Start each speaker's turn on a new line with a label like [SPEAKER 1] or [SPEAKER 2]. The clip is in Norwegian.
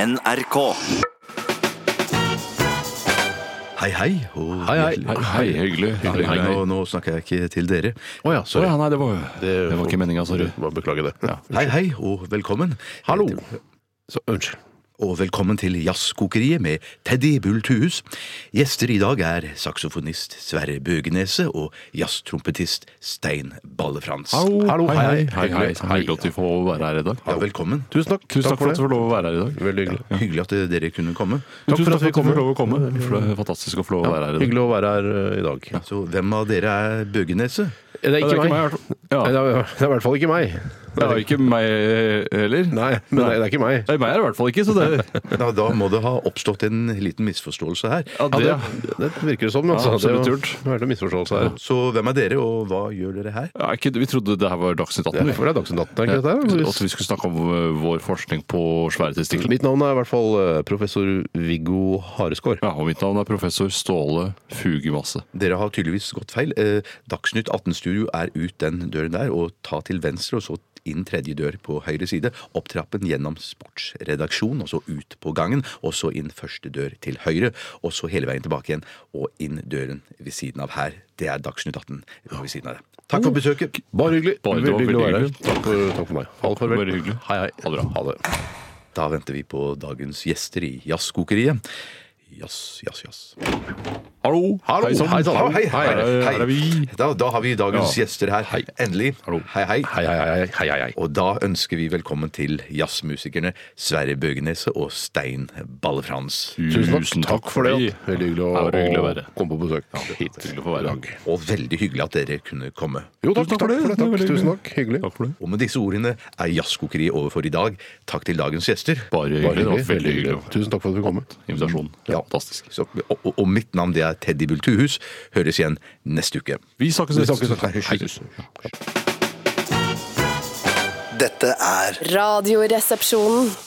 [SPEAKER 1] NRK.
[SPEAKER 2] Hei, hei. og
[SPEAKER 3] Hei, hei.
[SPEAKER 2] hjertelig-
[SPEAKER 4] Hei, hei, hyggelig.
[SPEAKER 2] Hei,
[SPEAKER 4] hyggelig.
[SPEAKER 2] hei. Nå, nå snakker jeg ikke til dere.
[SPEAKER 3] Å ja, sorry.
[SPEAKER 4] Å ja, nei, det var,
[SPEAKER 3] Det,
[SPEAKER 4] det var ikke meninga, sorry.
[SPEAKER 3] Bare beklager det.
[SPEAKER 2] Hei, hei, og velkommen.
[SPEAKER 3] Hallo.
[SPEAKER 2] Eh, til-
[SPEAKER 3] Så, unnskyld.
[SPEAKER 2] Og velkommen til Jazzkokeriet med Teddy Bull Tuhus. Gjester i dag er saksofonist Sverre Bøgenese og jazztrompetist Stein Balle-Frans.
[SPEAKER 3] Hallo,
[SPEAKER 4] hei, hei. hei,
[SPEAKER 3] hei,
[SPEAKER 4] hei.
[SPEAKER 3] hyggelig.
[SPEAKER 4] Hyggelig at vi får være her i dag.
[SPEAKER 2] Ja, velkommen.
[SPEAKER 3] Tusen takk.
[SPEAKER 4] Tusen takk for at
[SPEAKER 3] det.
[SPEAKER 4] du får lov å være her i dag.
[SPEAKER 3] Veldig hyggelig.
[SPEAKER 2] Hyggelig at eh, dere kunne komme.
[SPEAKER 3] Takk for at vi
[SPEAKER 4] får
[SPEAKER 3] kommer.
[SPEAKER 4] lov å komme. For det er fantastisk å få lov å være her i dag.
[SPEAKER 3] Hyggelig å være her eh, i dag.
[SPEAKER 2] Så hvem av dere er Bøgenese?
[SPEAKER 3] Det er
[SPEAKER 4] Ja,
[SPEAKER 3] ikke meg.
[SPEAKER 4] i hvert fall. Ja,
[SPEAKER 3] Nei, Det er det er i hvert fall ikke meg.
[SPEAKER 4] det er ikke meg heller.
[SPEAKER 3] Nei, men det er- det er ikke meg.
[SPEAKER 4] Nei, meg er det i hvert fall ikke, så det
[SPEAKER 2] Da, da må det ha oppstått en liten misforståelse her.
[SPEAKER 4] ja, det,
[SPEAKER 3] Ja, det, det virker det som. Altså.
[SPEAKER 4] Ja,
[SPEAKER 3] det
[SPEAKER 4] absolutt
[SPEAKER 3] var-
[SPEAKER 4] gjort.
[SPEAKER 3] det var en misforståelse her.
[SPEAKER 2] Så hvem er dere, og hva gjør dere her?
[SPEAKER 4] ja, ikke, Vi trodde det her var Dagsnytt 18.
[SPEAKER 3] Det
[SPEAKER 4] vi.
[SPEAKER 3] er Dagsnytt 18, er ikke
[SPEAKER 4] Ja,
[SPEAKER 3] dette? her?
[SPEAKER 4] At vi skulle snakke om eh, vår forskning på svære testikler.
[SPEAKER 3] Mitt navn er i hvert fall eh, professor Viggo Hareskår.
[SPEAKER 4] Ja, og mitt navn er professor Ståle Fugemasse.
[SPEAKER 2] Dere har tydeligvis gått feil. Eh, Dagsnytt 18-studio er ut den døren der, og ta til venstre, og så inn tredje dør på høyre side. Opp trappen gjennom sportsredaksjon, og så ut på gangen, og så inn første dør til høyre, og så hele veien tilbake igjen, og inn døren ved siden av her. Det er Dagsnytt 18 ved siden av det. Takk for besøket.
[SPEAKER 3] Bare hyggelig.
[SPEAKER 4] Bare- det var
[SPEAKER 3] veldig hyggelig
[SPEAKER 4] veldig
[SPEAKER 3] å være her.
[SPEAKER 4] hyggelig.
[SPEAKER 3] Takk for, takk for meg. Ha det
[SPEAKER 4] Bare hyggelig.
[SPEAKER 3] Hei, hei.
[SPEAKER 4] Ha det bra.
[SPEAKER 3] Ha det.
[SPEAKER 2] Da venter vi på dagens gjester i jazzkokeriet. Jazz, jazz, jazz.
[SPEAKER 4] Hallo!
[SPEAKER 3] Hallo,
[SPEAKER 4] sann.
[SPEAKER 3] hei sann.
[SPEAKER 2] Hallo, hei, hei,
[SPEAKER 4] Her er- her er vi.
[SPEAKER 2] hei. Da, da har vi dagens
[SPEAKER 4] Ja.
[SPEAKER 2] gjester her. Endelig. Hei, hei.
[SPEAKER 3] Hei, hei, hei, hei, hei, hei.
[SPEAKER 2] Og da ønsker vi velkommen til jazzmusikerne Sverre Bøgenese og Stein Balle-Frans.
[SPEAKER 3] Tusen takk, takk for det. Veldig hyggelig å,
[SPEAKER 4] Ja, det var hyggelig å være.
[SPEAKER 3] komme på besøk hit.
[SPEAKER 4] Hyggelig å få være her.
[SPEAKER 2] Og veldig hyggelig at dere kunne komme.
[SPEAKER 3] Jo, takk,
[SPEAKER 4] Tusen
[SPEAKER 3] takk for det.
[SPEAKER 4] Det er
[SPEAKER 3] Takk.
[SPEAKER 4] veldig
[SPEAKER 3] Tusen takk. Hyggelig.
[SPEAKER 4] Takk for det.
[SPEAKER 2] Og med disse ordene er Jazzkokeriet over for i dag. Takk til dagens gjester.
[SPEAKER 4] Bare hyggelig.
[SPEAKER 3] Bare
[SPEAKER 4] det var
[SPEAKER 3] hyggelig.
[SPEAKER 4] Veldig hyggelig.
[SPEAKER 3] Tusen takk for at du kom.
[SPEAKER 4] Invitasjon.
[SPEAKER 2] Ja.
[SPEAKER 4] Fantastisk.
[SPEAKER 2] Så, og, og- og mitt navn det er Teddy Bultuhus. Høres igjen neste uke.
[SPEAKER 4] Vi snakkes
[SPEAKER 3] Vi snakkes.
[SPEAKER 2] Nei, hysj.
[SPEAKER 1] Dette er
[SPEAKER 5] Radioresepsjonen.